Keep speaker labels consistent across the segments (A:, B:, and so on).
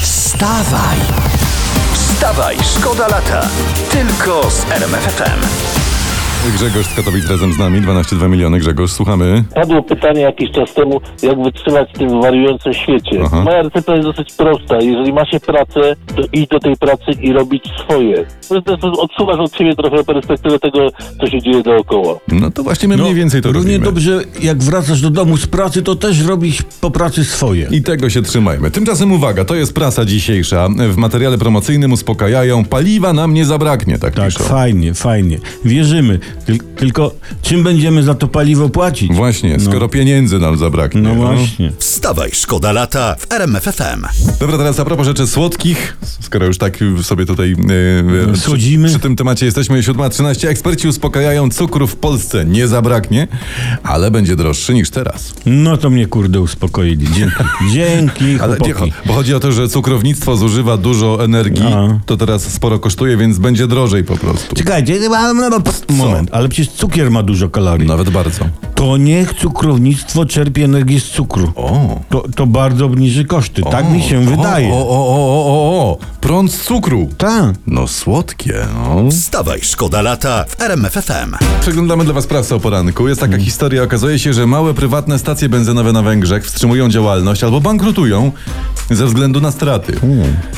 A: Wstawaj! Wstawaj, szkoda lata. Tylko z RMFFM.
B: Grzegorz z Katowic razem z nami, 12,2 miliony. Grzegorz, słuchamy.
C: Padło pytanie jakiś czas temu, jak wytrzymać w tym wariującym świecie.
B: Aha.
C: Moja recepta jest dosyć prosta. Jeżeli ma się pracę, to idź do tej pracy i robić swoje. Po prostu odsuwasz od siebie trochę perspektywę tego, co się dzieje dookoła.
B: No to właśnie my mniej więcej to
D: Równie
B: robimy.
D: dobrze, jak wracasz do domu z pracy, to też robisz po pracy swoje.
B: I tego się trzymajmy. Tymczasem uwaga, to jest prasa dzisiejsza. W materiale promocyjnym uspokajają, paliwa nam nie zabraknie, tak,
D: Tak,
B: piszą.
D: fajnie, fajnie. Wierzymy. Tyl- tylko czym będziemy za to paliwo płacić?
B: Właśnie, skoro pieniędzy nam zabraknie.
D: No właśnie.
A: Wstawaj, szkoda lata w RMFFM.
B: Dobra, teraz a propos rzeczy słodkich, skoro już tak sobie tutaj
D: No,
B: yy, przy-
D: Schodzimy.
B: Przy tym temacie jesteśmy 7.13. Eksperci uspokajają, cukru w Polsce nie zabraknie, ale będzie droższy niż teraz.
D: No to mnie kurde uspokoili. Dzięki. Dzięki,
B: Ale nie,
D: chłopaki.
B: bo chodzi o to, że cukrownictwo zużywa dużo energii,
D: A.
B: to teraz sporo kosztuje, więc będzie drożej po prostu.
D: Czekajcie, no, no, no, pst, moment, ale przecież cukier ma dużo kalorii.
B: Nawet bardzo.
D: To niech cukrownictwo czerpie energię z cukru.
B: O.
D: To, to bardzo obniży koszty, tak mi się
B: o,
D: wydaje.
B: O, o, o, o, o, o. Prąd z cukru.
D: Tak.
B: No słodkie. No.
A: Wstawaj, szkoda lata w RMFFM.
B: Przeglądamy dla Was prasę o poranku. Jest taka historia, okazuje się, że małe prywatne stacje benzynowe na Węgrzech wstrzymują działalność albo bankrutują ze względu na straty.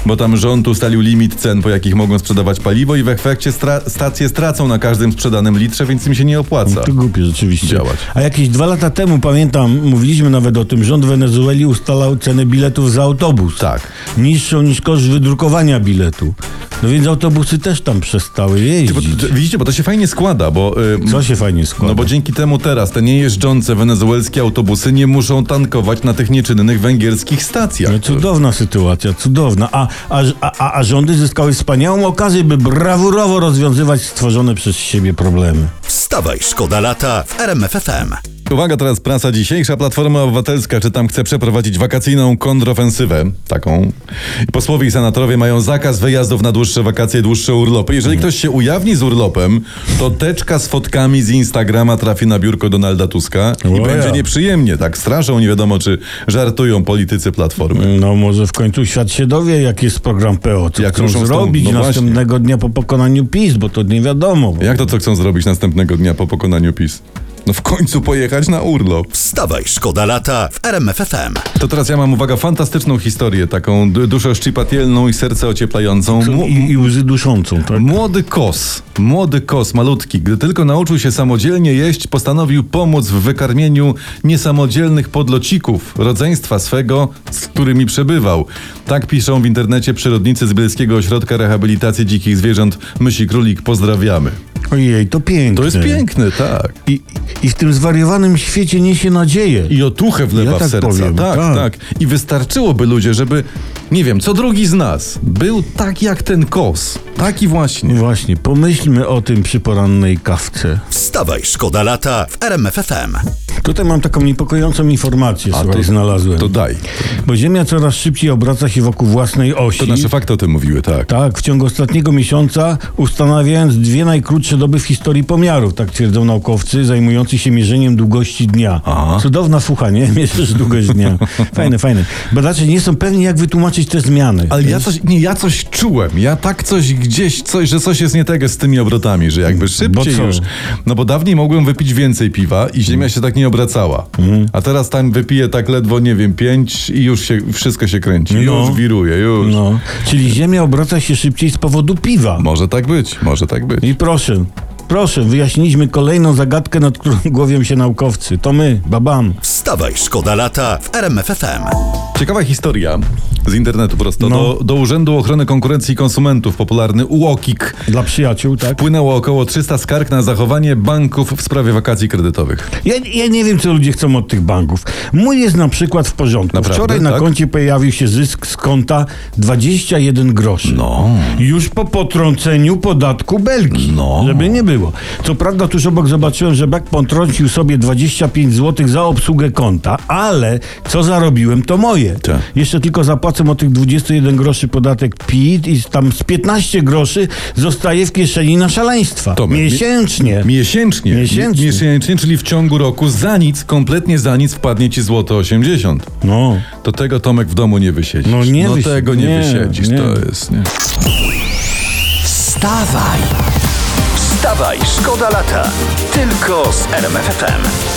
B: Bo tam rząd ustalił limit cen, po jakich mogą sprzedawać paliwo i w efekcie stra- stacje stracą na każdym sprzedanym litrze, więc im się nie opłaca.
D: To głupie rzeczywiście.
B: Tak. Działać.
D: A jakieś dwa lata temu, pamiętam, mówiliśmy nawet o tym, rząd Wenezueli ustalał cenę biletów za autobus.
B: Tak.
D: Niższą niż koszt wydrukowania biletu. No więc autobusy też tam przestały
B: Bo,
D: jeździć.
B: widzicie, bo to się fajnie składa, bo... y,
D: Co się fajnie składa.
B: No bo dzięki temu teraz te niejeżdżące wenezuelskie autobusy nie muszą tankować na tych nieczynnych węgierskich stacjach.
D: No cudowna sytuacja, cudowna. A, a, a, a rządy zyskały wspaniałą okazję, by brawurowo rozwiązywać stworzone przez siebie problemy.
A: Wstawaj, szkoda lata w RMFFM.
B: Uwaga, teraz prasa dzisiejsza. Platforma Obywatelska, czy tam chce przeprowadzić wakacyjną kontrofensywę, taką. Posłowie i senatorowie mają zakaz wyjazdów na dłuższe wakacje, dłuższe urlopy. Jeżeli
D: Mhm.
B: ktoś się ujawni z urlopem, to teczka z fotkami z Instagrama trafi na biurko Donalda Tuska i
D: Oja.
B: będzie nieprzyjemnie. Tak straszą, nie wiadomo czy żartują politycy Platformy.
D: No może w końcu świat się dowie, jaki jest program PO, co
B: Jak
D: chcą
B: ruszą z tą-
D: zrobić
B: no właśnie.
D: następnego dnia po pokonaniu PiS, bo to nie wiadomo.
B: Jak to co chcą zrobić następnego dnia po pokonaniu PiS? No w końcu pojechać na urlop.
A: Wstawaj, szkoda lata w RMFFM.
B: To teraz ja mam, uwaga, fantastyczną historię, taką d- duszę szczypatelną i serce ocieplającą. Mu-
D: I, I łzy duszącą, tak?
B: Młody kos, młody kos, malutki, gdy tylko nauczył się samodzielnie jeść, postanowił pomóc w wykarmieniu niesamodzielnych podlocików rodzeństwa swego, z którymi przebywał. Tak piszą w internecie przyrodnicy z Bielskiego Ośrodka Rehabilitacji Dzikich Zwierząt Mysi Królik. Pozdrawiamy.
D: Ojej, to piękne.
B: To jest piękne, tak.
D: I, I w tym zwariowanym świecie niesie nadzieję.
B: I otuchę wlewa
D: Ja
B: w
D: tak
B: serca.
D: powiem,
B: tak, tak,
D: tak.
B: I wystarczyłoby ludzie, żeby, nie wiem, co drugi z nas był tak jak ten kos. Taki właśnie.
D: Właśnie, pomyślmy o tym przy porannej kawce.
A: Wstawaj, szkoda lata w RMFFM.
D: Tutaj mam taką niepokojącą informację,
B: A
D: słuchaj,
B: to-
D: znalazłem.
B: To daj.
D: Bo Ziemia coraz szybciej obraca się wokół własnej osi.
B: To nasze fakty o tym mówiły, tak.
D: Tak, w ciągu ostatniego miesiąca ustanawiając dwie najkrótsze doby w historii pomiarów, tak twierdzą naukowcy zajmujący się mierzeniem długości dnia.
B: Aha.
D: Cudowna fucha, nie? Mierzysz długość dnia. Fajne, fajne. Badacze nie są pewni, jak wytłumaczyć te zmiany.
B: Ale ja coś, nie, ja coś czułem. Ja tak coś gdzieś, coś, że coś jest nie tego z tymi obrotami, że jakby szybciej
D: co? Mm.
B: już. No bo dawniej mogłem wypić więcej piwa i ziemia się tak nie obracała. A teraz tam wypiję tak ledwo, nie wiem, pięć i już się, wszystko się kręci.
D: No.
B: Już wiruje, już.
D: No, czyli Ziemia obraca się szybciej z powodu piwa.
B: Może tak być, może tak być.
D: I proszę, proszę, wyjaśniliśmy kolejną zagadkę, nad którą głowią się naukowcy. To my, babam.
A: Wstawaj, szkoda lata w RMFFM.
B: Ciekawa historia z internetu prosto.
D: No.
B: Do, do Urzędu Ochrony Konkurencji i Konsumentów, popularny UOKiK,
D: Dla przyjaciół, tak?
B: wpłynęło około 300 skarg na zachowanie banków w sprawie wakacji kredytowych.
D: Ja, ja nie wiem, co ludzie chcą od tych banków. Mój jest na przykład w porządku.
B: Naprawdę,
D: Wczoraj na
B: tak?
D: koncie pojawił się zysk z konta 21 groszy.
B: No.
D: Już po potrąceniu podatku Belgii.
B: No.
D: Żeby nie było. Co prawda tuż obok zobaczyłem, że Beck potrącił sobie 25 zł za obsługę konta, ale co zarobiłem, to moje. żyję.
B: Tak.
D: Jeszcze tylko zapłacę o tych 21 groszy podatek PIT i tam z 15 groszy zostaje w kieszeni na szaleństwa.
B: Tomek, mi-
D: miesięcznie.
B: Miesięcznie.
D: Miesięcznie.
B: Mi- Miesięcznie, czyli w ciągu roku za nic, kompletnie za nic wpadnie ci złoto 80.
D: no.
B: To tego Tomek w domu nie wysiedzisz.
D: No nie
B: no
D: wysi-
B: tego nie,
D: nie,
B: wysiedzisz,
D: nie.
B: to jest nie.
A: Wstawaj! Wstawaj, szkoda lata! Tylko z RMFFM.